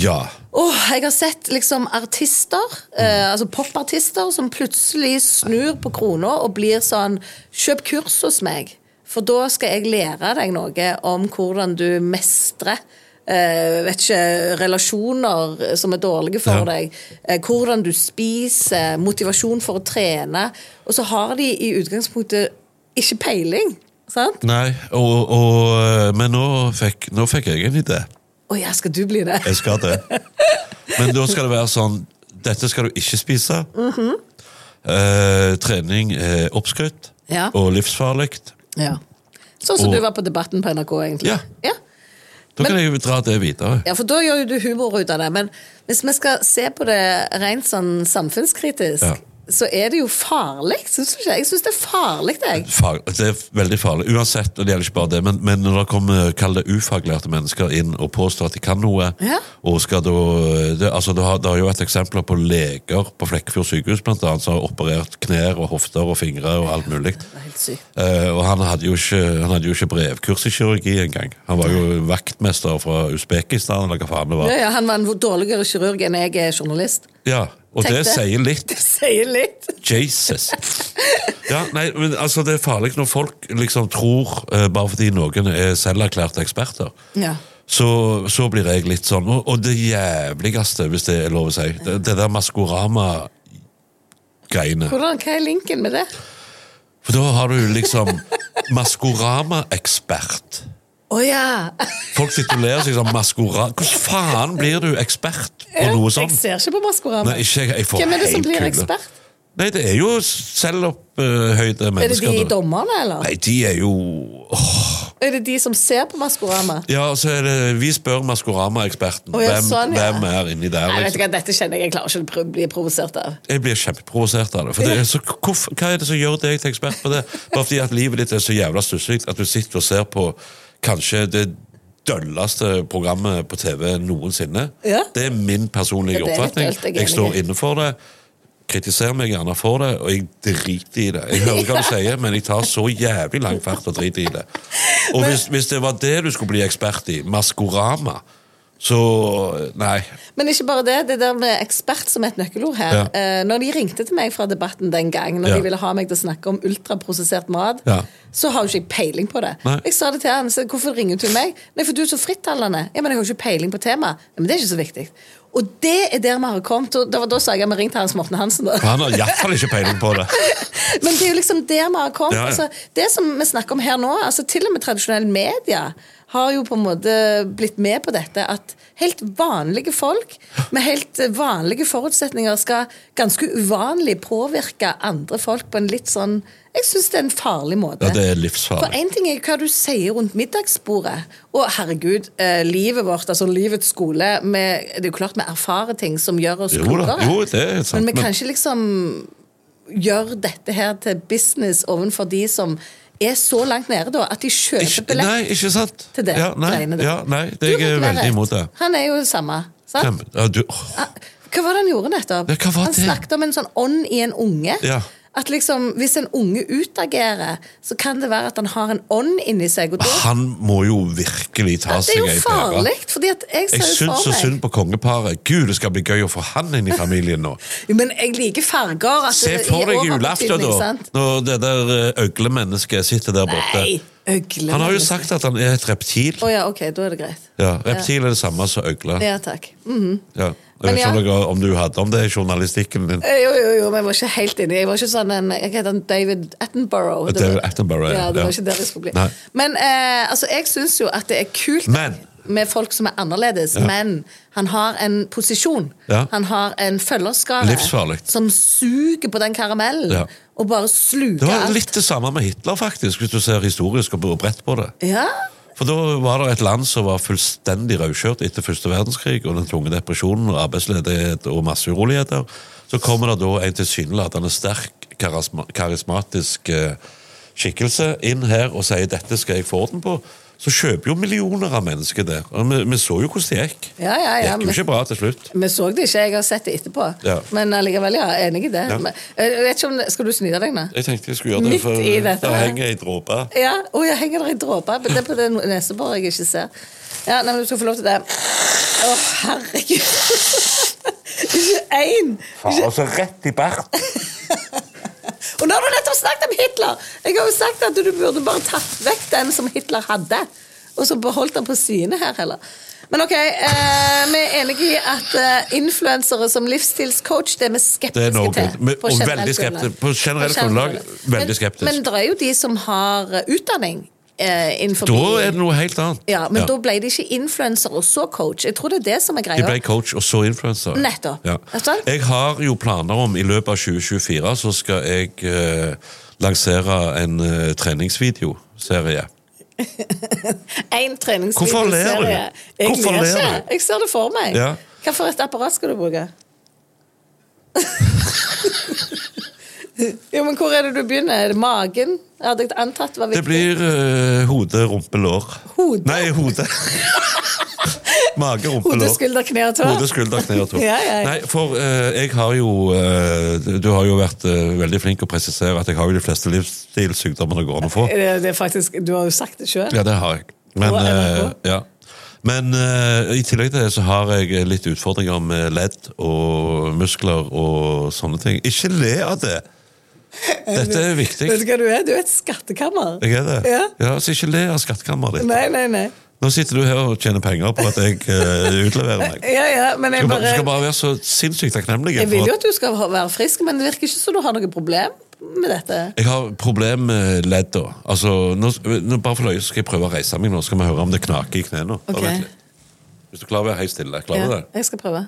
S3: Ja.
S2: Åh, jeg har sett liksom artister,
S3: Mm.
S2: eh, altså popartister, som plutselig snur på krona og blir sånn Kjøp kurs hos meg, for da skal jeg lære deg noe om hvordan du mestrer eh, vet ikke, relasjoner som er dårlige for
S4: Ja.
S2: deg. eh, hvordan du spiser, motivasjon for å trene. Og så har de i utgangspunktet ikke peiling. Sant?
S3: Nei, og, og, men nå fikk, nå fikk jeg en idé.
S2: Å ja, skal du bli det?
S3: Jeg skal det. Men da skal det være sånn Dette skal du ikke spise.
S2: Mhm.
S3: Eh, trening er oppskrytt
S2: Ja.
S3: og livsfarlig.
S2: ja. Sånn som
S3: Og-
S2: du var på Debatten på NRK, egentlig.
S3: Ja.
S2: ja.
S3: Da kan jeg jo dra det videre.
S2: Ja, for da gjør jo du humor ut av det. Men hvis vi skal se på det rent sånn samfunnskritisk,
S3: Ja.
S2: så er det jo farlig, syns du ikke? Jeg syns det er farlig, jeg.
S3: Far, det er veldig farlig. Uansett, og det gjelder ikke bare det, men, men når det kommer kall det ufaglærte mennesker inn og påstår at de kan noe
S2: Ja.
S3: og skal da, det, altså, det, har, det har jo vært eksempler på leger på Flekkefjord sykehus blant annet, som har operert knær og hofter og fingre og alt mulig.
S2: Helt sykt.
S3: Eh, og han hadde, jo ikke, han hadde jo ikke brevkurs i kirurgi engang. Han var jo vaktmester fra Usbekistan eller hva faen det var.
S2: Ja, ja, han var en dårligere kirurg enn jeg er journalist.
S3: Ja, Og
S2: Tenk
S3: det sier litt.
S2: Det sier litt.
S3: Jesus! Ja, nei, men altså Det er farlig når folk liksom tror, eh, bare fordi noen er selverklærte eksperter,
S2: Ja.
S3: så, så blir jeg litt sånn Og, og det jævligste, hvis det er lov å si, det, det der Maskorama-greiene.
S2: Hvordan, hva er linken med det?
S3: For da har du liksom Maskorama-ekspert.
S2: Å ja!
S3: Folk titulerer seg som maskorama. Hvordan faen blir du ekspert på noe
S2: Jeg
S3: sånt?
S2: ser ikke på Maskorama.
S3: Nei, ikke, jeg- jeg får
S2: Hvem er det som
S3: helt
S2: blir
S3: kule.
S2: ekspert?
S3: Nei, det er jo selvopphøyde
S2: Er det
S3: mennesker.
S2: de
S3: da.
S2: dommerne, eller?
S3: Nei, de er jo
S2: Er det de som ser på Maskorama?
S3: Ja, og så er det Vi spør Maskorama-eksperten.
S2: Å, ja,
S3: hvem,
S2: sånn, ja.
S3: hvem er inni der?
S2: Nei, vet du
S3: Liksom?
S2: hva, Dette kjenner jeg jeg klarer ikke å bli provosert av.
S3: Jeg blir kjempeprovosert av det. For det er så, hvorfor, hva er det som gjør deg til ekspert på det? Bare fordi at livet ditt er så jævla stusslig at du sitter og ser på kanskje det dølleste programmet på TV noensinne.
S2: Ja.
S3: Det er min personlige
S2: Ja, det er litt
S3: oppfatning.
S2: dølt, jeg er
S3: Jeg
S2: enig.
S3: står inne for det. Kritiser meg gjerne for det, og jeg driter i det. Jeg hører hva du sier, men jeg tar så jævlig lang fart og driter i det. Og hvis, hvis det var det du skulle bli ekspert i, Maskorama, så Nei.
S2: Men ikke bare det, det der med ekspert som et nøkkelord her.
S3: Ja.
S2: Eh, når de ringte til meg fra debatten den gang, når
S3: Ja.
S2: de ville ha meg til å snakke om ultraprosessert mat,
S3: Ja.
S2: så har jo ikke jeg peiling på det.
S3: Nei.
S2: Jeg sa det til han, så hvorfor ringer du til meg? Nei, for du er så frittalende. Ja, men jeg har jo ikke peiling på temaet. Ja, men det er ikke så viktig. Og det er der vi har kommet. Og da, da sa jeg at vi ringte Hans Morten Hansen, da.
S3: Han har iallfall ikke peiling på det.
S2: Men det er jo liksom der vi har kommet.
S3: Ja, ja.
S2: Altså, det som vi snakker om her nå, altså til og med tradisjonelle media har jo på en måte blitt med på dette at helt vanlige folk med helt vanlige forutsetninger skal ganske uvanlig påvirke andre folk på en litt sånn Jeg syns det er en farlig måte.
S3: Ja, det er
S2: For
S3: livsfarlig.
S2: én ting er hva du sier rundt middagsbordet. Og herregud, eh, livet vårt, altså livets skole med, Det er jo klart vi erfarer ting som gjør oss
S3: Jo da,
S2: klokere.
S3: jo, det er sant.
S2: Men vi
S3: men-
S2: kan ikke liksom gjøre dette her til business overfor de som er så langt nede, da, at de kjøper billett
S3: Nei, ikke sant?
S2: til det.
S3: Ja, nei,
S2: greiene der.
S3: ja, nei det, jeg er
S2: Lerret,
S3: veldig imot det.
S2: Han er jo det samme. Sant?
S3: Kjempe- Ja, du, åh,
S2: Hva var det han gjorde nettopp?
S3: Ja, hva var
S2: han
S3: det?
S2: snakket om en sånn ånd i en unge.
S3: ja.
S2: At liksom, Hvis en unge utagerer, så kan det være at han har en ånd inni seg. Og da,
S3: Han må jo virkelig ta
S2: det
S3: seg
S2: er
S3: ei
S2: jo
S3: pære.
S2: farlig! fordi at jeg
S3: Jeg
S2: ser jo
S3: syns så
S2: for meg
S3: synd på kongeparet. Gud, det skal bli gøy å få han inn i familien nå.
S2: Jo, Men jeg liker farger. At
S3: Se
S2: det- i
S3: for deg
S2: overbetydning,
S3: julaften, da,
S2: sant?
S3: når det der eh, øglemennesket sitter der borte.
S2: Nei, Øgle.
S3: Han har jo sagt at han er et reptil.
S2: Å ja, ok, da er det greit.
S3: Ja, Reptil er det samme som øgle.
S2: Ja, takk. Mhm.
S3: Ja. Jeg
S2: Men
S3: vet ikke om,
S2: ja.
S3: dere, om du hadde om det i journalistikken din.
S2: Eh, Jo, jo, jo, men jeg var ikke helt inne. Jeg var ikke sånn en, jeg heter han David Attenborough. Det var-
S3: David Attenborough,
S2: ja.
S3: ja.
S2: Det var
S3: Ja.
S2: ikke der jeg skulle bli.
S3: Nei.
S2: Men eh, altså, jeg syns jo at det er kult
S3: Men-
S2: med folk som er annerledes,
S3: Ja.
S2: men han har en posisjon.
S3: Ja.
S2: Han har en følgerskare
S3: Livsfarlig.
S2: som suger på den karamellen
S3: Ja.
S2: og bare sluker
S3: Det var
S2: alt.
S3: litt det samme med Hitler, faktisk, hvis du ser historisk og bredt på det.
S2: Ja,
S3: For da var det et land som var fullstendig rødkjørt etter første verdenskrig og den tunge depresjonen og arbeidsledighet og masseuroligheter. Så kommer det da en tilsynelatende sterk, karisma karismatisk eh, skikkelse inn her og sier 'dette skal jeg få orden på'. Så kjøper jo millioner av mennesker det. Og vi, vi så jo hvordan det gikk.
S2: ja, ja.
S3: Det
S2: ja.
S3: gikk jo
S2: men-
S3: ikke bra til slutt.
S2: Vi så det ikke, jeg har sett det etterpå.
S3: Ja.
S2: Men allikevel, ja, enig i det.
S3: Ja.
S2: Men, eh, jeg vet ikke om, det- skal du snyte deg nå?
S3: Jeg tenkte jeg skulle gjøre det,
S2: Midt
S3: for
S2: i dette
S3: det
S2: her.
S3: henger ei dråpe.
S2: Ja, oh, jeg henger der i dråper. men Det er på det neseboret jeg ikke ser. Ja, nei, men Du skal få lov til det. Å, herregud! ikke én!
S3: Altså rett i bart.
S2: Og nå har du nettopp snakket om Hitler! Jeg har jo sagt at du burde bare tatt vekk den som Hitler hadde, og så beholdt han på sine her heller. Men ok, eh, vi er enige i at eh, influensere som livsstilscoach, det er vi
S3: Det er
S2: skeptiske
S3: noe
S2: til.
S3: godt. Men-
S2: på
S3: og
S2: generelt grunnlag.
S3: veldig skeptisk. På generelt grunnlag,
S2: Men-
S3: veldig skeptisk.
S2: Men det er jo de som har eh, utdanning eh, innenfor
S3: Da er det noe helt annet.
S2: Ja, men da ble de ikke influenser og så coach. Jeg tror det er det som er
S3: De
S2: greia.
S3: ble coach og så influenser.
S2: Nettopp.
S3: Ja.
S2: Er det sant?
S3: Jeg har jo planer om i løpet av 2024 så skal jeg eh, lansere en eh, treningsvideoserie.
S2: Én treningsvideo.
S3: Hvorfor ler du?
S2: Jeg ler
S3: Hvorfor ler
S2: ikke.
S3: du?
S2: Jeg ser det for meg.
S3: Ja.
S2: Hva for et apparat skal du bruke? jo, men hvor er det du begynner? Er det magen? Jeg hadde antatt det var
S3: Det
S2: viktig.
S3: blir eh, hode, rumpe, lår.
S2: Hode?
S3: Nei, hode. Mage, rumpe,
S2: Hode,
S3: lår.
S2: skulder, kne og tå.
S3: Hode, skulder, kne og tå.
S2: Ja, ja, ja.
S3: Nei, for eh, jeg har jo eh, Du har jo vært eh, veldig flink å presisere at jeg har jo de fleste livsstilssykdommene det går an å få.
S2: Det, det er faktisk, du har jo sagt det sjøl.
S3: Ja, det har jeg. Men,
S2: Og NRK.
S3: eh, ja. Men eh, i tillegg til det så har jeg litt utfordringer med ledd og muskler og sånne ting. Ikke le av det! Dette er viktig.
S2: Vet du hva du er? Du er et skattekammer.
S3: Jeg er det.
S2: Ja.
S3: Ja, så ikke le av skattkammeret ditt.
S2: Nei, nei, nei.
S3: Nå sitter du her og tjener penger på at jeg eh, utleverer meg.
S2: Ja, ja, men
S3: Du
S2: jeg
S3: skal, bare, du
S2: bare
S3: skal bare være så sinnssykt takknemlig.
S2: Jeg vil
S3: for
S2: jo
S3: at-
S2: at du skal ha- være frisk, men det virker ikke som du har noe problem med dette.
S3: Jeg har problem med ledda. Altså, nå, nå bare for løye så skal jeg prøve å reise meg nå. Skal vi høre om det knaker i knærne. Bare
S2: Ok.
S3: vent litt. Hvis du klarer å være helt stille. Klarer du
S2: Ja,
S3: det?
S2: jeg skal prøve.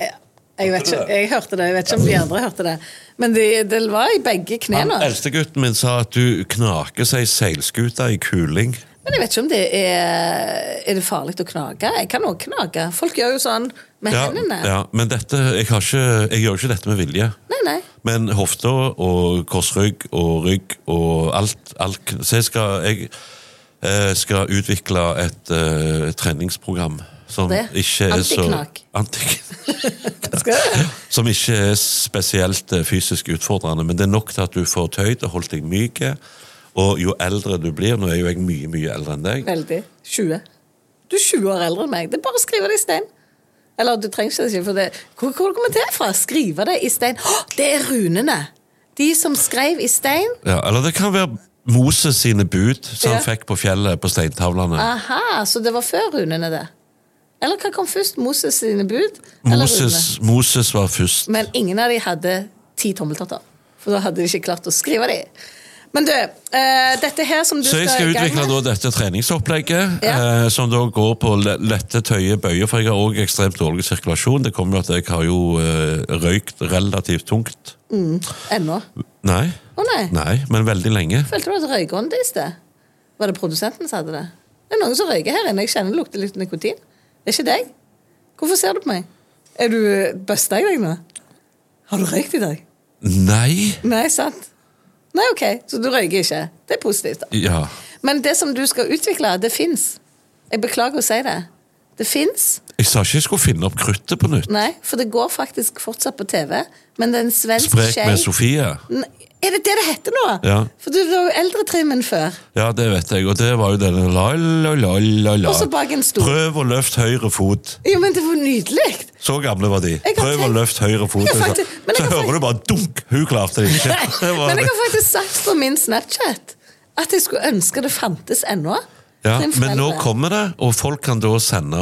S2: Ja, Jeg vet ikke, jeg hørte det, jeg vet ikke om de andre hørte det. Men det, det var i begge
S3: Han
S2: knærne.
S3: eldste gutten min sa at du knaker seg seilskuta i kuling.
S2: Men jeg vet ikke om det er Er det farlig å knage? Jeg kan òg knage. Folk gjør jo sånn med
S3: Ja,
S2: hendene.
S3: ja, men dette, jeg, har ikke, jeg gjør ikke dette med vilje.
S2: Nei, nei.
S3: Men hofta og korsrygg og rygg og alt, alt kn- Så jeg skal, jeg, eh, skal utvikle et eh, treningsprogram som
S2: Det?
S3: ikke er så
S2: Antiknak.
S3: Antiknak.
S2: Skal du?
S3: Som ikke er spesielt eh, fysisk utfordrende, men det er nok til at du får tøyd og holdt deg myk. Og jo eldre du blir Nå er jo jeg mye mye eldre enn deg.
S2: Veldig. 20. Du er 20 år eldre enn meg. Det er bare å skrive det i stein. Eller du trenger ikke det, for det Hvor, hvor kommer det fra? Skrive det i stein. Å, det er runene! De som skrev i stein.
S3: Ja, eller det kan være Moses sine bud som han
S2: Ja. Ah,
S3: fikk på fjellet på steintavlene.
S2: Aha, så det var før runene, det? Eller hva kom først? Moses sine bud? Eller runene?
S3: Moses, Moses var først.
S2: Men ingen av de hadde ti tommeltotter. For da hadde de ikke klart å skrive de. Men du, eh, dette her som du
S3: Så jeg skal
S2: i gang
S3: utvikle
S2: med-
S3: da dette treningsopplegget,
S2: Ja.
S3: eh, som da går på le- lette, tøye bøyer, for jeg har òg ekstremt dårlig sirkulasjon. Det kommer jo at jeg har jo eh, røykt relativt tungt.
S2: mm, Ennå?
S3: Nei.
S2: Å nei.
S3: Nei, men veldig lenge.
S2: Følte du at røykånd i sted? Var det produsenten som hadde det? Det er noen som røyker her inne. Jeg kjenner det lukter litt nikotin. Det er ikke deg. Hvorfor ser du på meg? Er du Busta jeg deg nå? Har du røykt i dag?
S3: Nei.
S2: Nei, sant? Nei, OK. Så du røyker ikke. Det er positivt. da.
S3: Ja.
S2: Men det som du skal utvikle, det fins. Jeg beklager å si det. Det fins,
S3: Jeg sa ikke jeg skulle finne opp kruttet på nytt.
S2: Nei, for det går faktisk fortsatt på TV. Men det er en svensk
S3: Sprek med
S2: skei-
S3: Sofie.
S2: Nei, Er det det det heter nå?
S3: Ja.
S2: For du var jo eldretrimmen før.
S3: Ja, det vet jeg, og det var jo denne la, la, la, la, la.
S2: Og så bak en stol.
S3: Prøv å løfte høyre fot.
S2: Jo, men det var nydelig!
S3: Så gamle var de.
S2: har
S3: Prøv å
S2: tenkt-
S3: løfte høyre fot.
S2: Jeg har faktisk- men jeg
S3: så
S2: har
S3: hører du bare dunk! Hun klarte det ikke. Det var
S2: Men jeg
S3: det.
S2: har faktisk sagt på min Snapchat at jeg skulle ønske det fantes ennå.
S3: Ja,
S2: Til en
S3: men nå
S2: forelder.
S3: kommer det, og folk kan da sende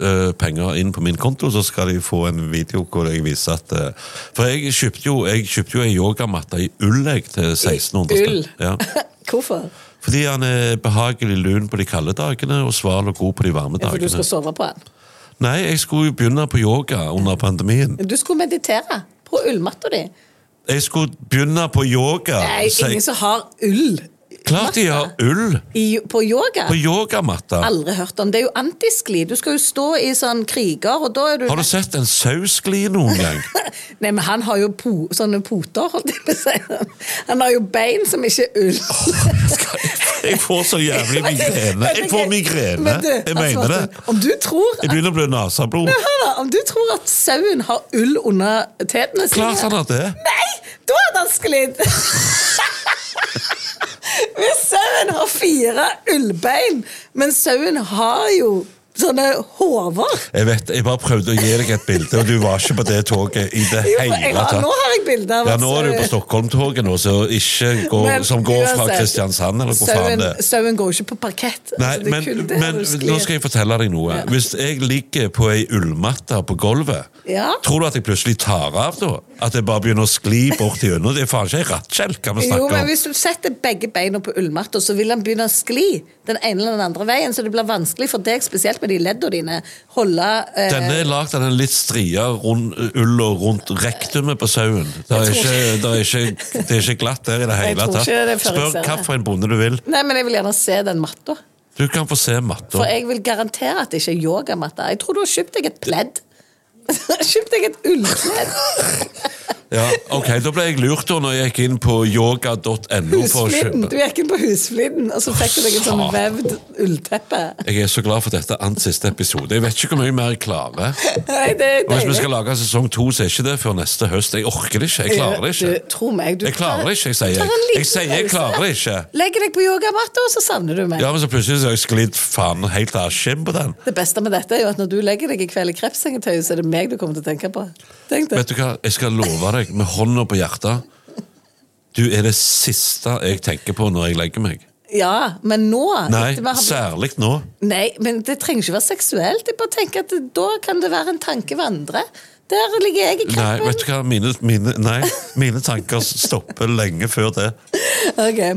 S3: eh, penger inn på min konto, så skal de få en video hvor jeg viser at eh, For jeg kjøpte jo jeg kjøpte jo ei yogamatte i ull jeg, til 1600
S2: ull?
S3: spenn. Ja.
S2: Hvorfor?
S3: Fordi han er behagelig lun på de kalde dagene og sval og god på de varme
S2: Ja, for du
S3: dagene.
S2: skal sove på den.
S3: Nei, jeg skulle jo begynne på yoga under pandemien.
S2: Du skulle meditere på ullmatta di.
S3: Jeg skulle begynne på yoga.
S2: Det er
S3: så
S2: jo ingen
S3: jeg,
S2: som har ull
S3: klart de har ull
S2: i, på yoga.
S3: på yogamatta.
S2: Aldri hørt om. Det er jo antiskli. Du skal jo stå i sånn kriger, og da er du
S3: Har du sett en saus gli noen gang?
S2: Nei, men han har jo po sånne poter, holdt jeg på å si. Han har jo bein som ikke er ull.
S3: Jeg får så jævlig migrene. Jeg får migrene.
S2: Vet du,
S3: Jeg mener
S2: altså,
S3: det.
S2: Om du tror
S3: Jeg
S2: at,
S3: begynner å bli nasablod.
S2: Nei, hør da, om du tror at sauen har ull under tetene sine
S3: Klart han har det.
S2: Nei, da hadde han sklidd! Hvis sauen har fire ullbein, men sauen har jo sånne hover
S3: Jeg vet, jeg bare prøvde å gi deg et bilde, og du var ikke på det toget i det
S2: Jo, jeg
S3: hele
S2: har-
S3: tatt.
S2: Nå har jeg bilde av
S3: Ja,
S2: at
S3: nå er du
S2: sauen-
S3: på Stockholm-toget nå, så ikke går,
S2: Men
S3: som går fra
S2: uansett,
S3: Kristiansand, eller hvor faen det
S2: sauen-
S3: er.
S2: Sauen går jo ikke på parkett.
S3: Nei,
S2: altså, det er
S3: men,
S2: kun det
S3: men
S2: når du sklir.
S3: nå skal jeg fortelle deg noe. Hvis jeg ligger på ei ullmatte på gulvet,
S2: Ja.
S3: tror du at jeg plutselig tar av da? At jeg bare begynner å skli bort gjennom? Det er faen ikke ei rattkjelke vi
S2: Jo,
S3: snakker
S2: men
S3: om.
S2: Hvis du setter begge beina på ullmatta, så vil han begynne å skli den ene eller den andre veien, så det blir vanskelig for deg, spesielt med de leddene dine, holde eh,
S3: Denne er lagd av den litt stria rund, ulla rundt rektumet på sauen. Det er,
S2: Jeg tror-
S3: ikke, det, er ikke, det er ikke glatt der i det
S2: Jeg
S3: hele
S2: tror
S3: tatt.
S2: ikke det
S3: Spør
S2: fører seg.
S3: hvilken bonde du vil.
S2: Nei, men jeg vil gjerne se den matta.
S3: Du kan få se
S2: For
S3: matta.
S2: jeg vil garantere at det ikke er yogamatte. Jeg tror du har kjøpt deg et pledd. kjøpt deg et ullpledd.
S3: Ja, ok, Da ble jeg lurt da når jeg gikk inn på yoga.no for å
S2: Husfliden.
S3: kjøpe.
S2: Du gikk inn på husfliden, og så fikk du deg et sånn
S3: Satan.
S2: vevd ullteppe.
S3: Jeg er så glad for dette annet siste episode. Jeg vet ikke hvor mye mer jeg klarer.
S2: Nei, det er
S3: Og hvis vi
S2: deilig.
S3: skal lage sesong to, så er ikke det før neste høst. Jeg orker det ikke. Jeg klarer det ikke.
S2: Du, tro meg, du
S3: Jeg klarer det ikke, jeg sier.
S2: tar en liten
S3: Jeg sier jeg
S2: pause.
S3: klarer det ikke.
S2: Legger deg på yogamatta, og så savner du meg.
S3: Ja, men så plutselig så har jeg sklidd faen helt av skinn på den.
S2: Det beste med dette er jo at når du legger deg i kveld i krepssengetøyet, så er det meg du kommer til å tenke på. Tenk det.
S3: Vet du hva, jeg skal love deg med hånda på hjertet. Du er det siste jeg tenker på når jeg legger meg.
S2: Ja, men nå
S3: Nei,
S2: etter vi har-
S3: særlig nå.
S2: Nei, men det trenger ikke være seksuelt. Jeg bare tenker at det- da kan det være en tanke vandre. Der ligger jeg i
S3: Nei,
S2: kreppen.
S3: vet du hva, mine, mine, nei, mine tanker stopper lenge før det.
S2: Ok. Eh,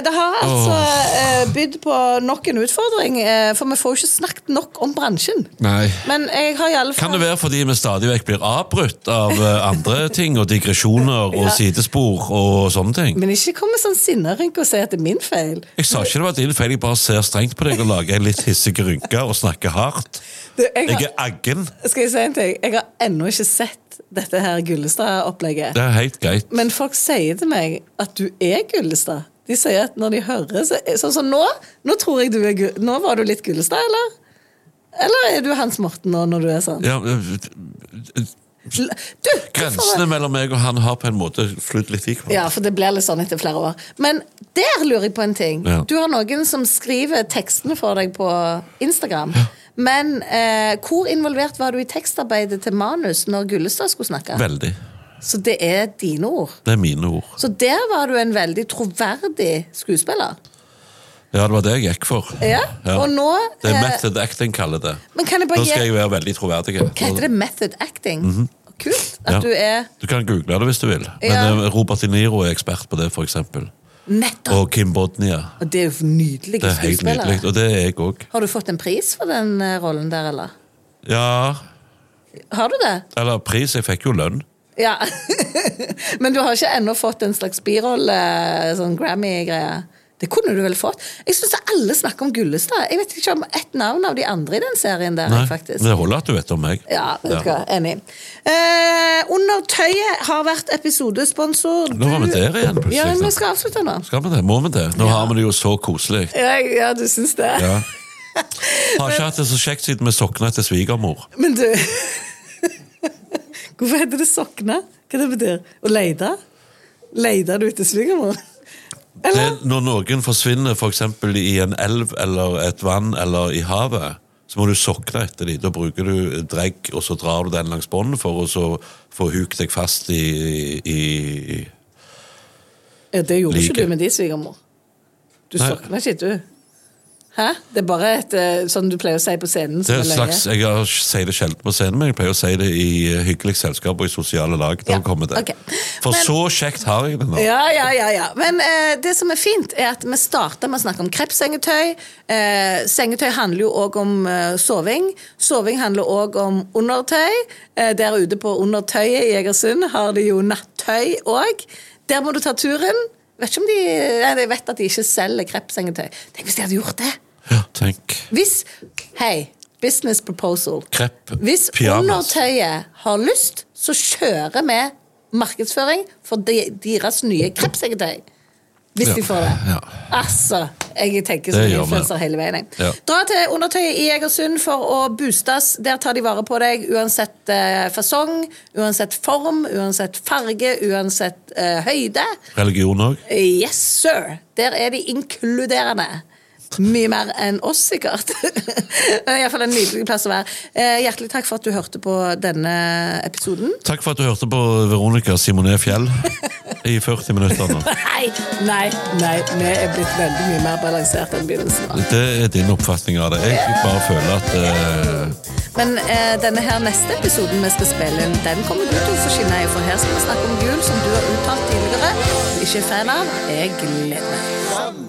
S2: det har altså eh, bydd på nok en utfordring, eh, for vi får jo ikke snakket nok om bransjen.
S3: Nei.
S2: Men jeg har i alle fall
S3: Kan det være fordi vi stadig vekk blir avbrutt av eh, andre ting, og digresjoner og sidespor og sånne ting?
S2: Men ikke kom med sånn sinnerynke og si at det er min feil.
S3: Jeg sa ikke det var din feil, jeg bare ser strengt på deg og lager en litt hissig rynke og snakker hardt.
S2: Du, jeg har-
S3: Jeg er aggen.
S2: Skal jeg si en ting? Jeg har ennå ikke sett dette her Gullestad-opplegget.
S3: Det er helt greit.
S2: Men folk sier til meg at du er Gullestad. De sier at når de hører så, Sånn som nå. Nå tror jeg du er Gu- Nå var du litt Gullestad, eller? Eller er du Hans Morten nå når du er sånn?
S3: Ja, eh,
S2: L- Du, hvorfor-
S3: Grensene mellom meg og han har på en måte flydd litt i hverandre.
S2: Ja, for det blir litt sånn etter flere år. Men der lurer jeg på en ting.
S3: Ja.
S2: Du har noen som skriver tekstene for deg på Instagram. Men eh, hvor involvert var du i tekstarbeidet til manus når Gullestad skulle snakke?
S3: Veldig.
S2: Så det er dine ord.
S3: Det er mine ord.
S2: Så der var du en veldig troverdig skuespiller.
S3: Ja, det var det jeg gikk for.
S2: Ja, og nå,
S3: Det er
S2: eh,
S3: method acting, kaller det.
S2: Men kan jeg bare
S3: Nå skal
S2: gi-
S3: jeg være veldig troverdig.
S2: Hva heter det? Method acting? Kult at
S3: Mhm. Ja.
S2: du er
S3: Du kan google det hvis du vil. Men
S2: Ja.
S3: eh, Robert De Niro er ekspert på det, for eksempel.
S2: nettopp
S3: Og Kim Bodnia.
S2: Og det er jo nydelige
S3: Det er helt
S2: skuespillere.
S3: nydelig. Og det er jeg òg.
S2: Har du fått en pris for den eh, rollen der, eller?
S3: Ja
S2: Har du det?
S3: Eller pris, jeg fikk jo lønn.
S2: Ja. Men du har ikke ennå fått en slags birolle, sånn Grammy-greie? Det kunne du vel fått? Jeg syns alle snakker om Gullestad. Jeg vet ikke om ett navn av de andre i den serien der,
S3: Nei,
S2: faktisk.
S3: men Det holder at du vet om meg.
S2: Ja, vet du hva. Enig. Eh, under tøyet har vært episodesponsor.
S3: Nå var vi
S2: Du-
S3: der igjen, plutselig. liksom.
S2: Ja, men vi skal avslutte nå.
S3: Skal vi det? Må vi det? Nå har vi det jo så koselig.
S2: Ja, ja du syns det?
S3: Ja. Har ikke hatt det så kjekt siden vi sokna til svigermor.
S2: Men du Hvorfor heter det sokne? Hva det betyr Å leide? Leide du etter svigermor?
S3: Det, når noen forsvinner f.eks. For i en elv eller et vann eller i havet, så må du sokne etter dem. Da bruker du dregg, og så drar du den langs båndet for å så få hukt deg fast i, i
S2: Ja, det gjorde
S3: Like.
S2: ikke du med din svigermor. Du
S3: Nei.
S2: sokna ikke, du. Hæ? Det er bare et eh, sånn du pleier å si på scenen.
S3: det
S2: som er
S3: er et
S2: løye.
S3: slags, Jeg har- sier det sjelden på scenen, men jeg pleier å si det i eh, hyggelige selskap og i sosiale lag. Da kommer det.
S2: ok.
S3: For
S2: Men-
S3: så kjekt har jeg det nå.
S2: Ja, ja, ja, ja. Men eh, det som er fint, er at vi starter med å snakke om krepssengetøy. Eh, sengetøy handler jo òg om eh, soving. Soving handler òg om undertøy. Eh, der ute på Undertøyet i Egersund har de jo nattøy òg. Der må du ta turen. Vet ikke om de, nei, jeg vet at de ikke selger krepssengetøy. Tenk hvis de hadde gjort det!
S3: Ja, tenk.
S2: Hvis Hei, business proposal.
S3: Krepp.
S2: Hvis
S3: Pyjamas.
S2: undertøyet har lyst, så kjører vi markedsføring for de, deres nye krepsegetøy. Hvis de
S3: Ja,
S2: får det.
S3: ja.
S2: Altså, jeg tenker
S3: Det
S2: som en
S3: gjør vi.
S2: influenser hele veien. jeg.
S3: Ja.
S2: Dra til Undertøyet i Egersund for å boostes. Der tar de vare på deg uansett eh, fasong, uansett form, uansett farge, uansett eh, høyde.
S3: Religion òg.
S2: Yes, sir! Der er de inkluderende. Mye mer enn oss, sikkert. Men Iallfall en nydelig plass å være. Eh, hjertelig takk for at du hørte på denne episoden.
S3: Takk for at du hørte på Veronica Simonet Fjell i 40 minutter nå.
S2: Nei, nei, nei. Vi er blitt veldig mye mer balansert enn begynnelsen. var.
S3: Det er din oppfatning av det. Jeg bare føler at eh,
S2: Men eh, denne her neste episoden vi skal spille inn, den kommer du til å få skinne i, for her skal vi snakke om jul, som du har uttalt tidligere. Ikke fan av. Jeg gleder meg.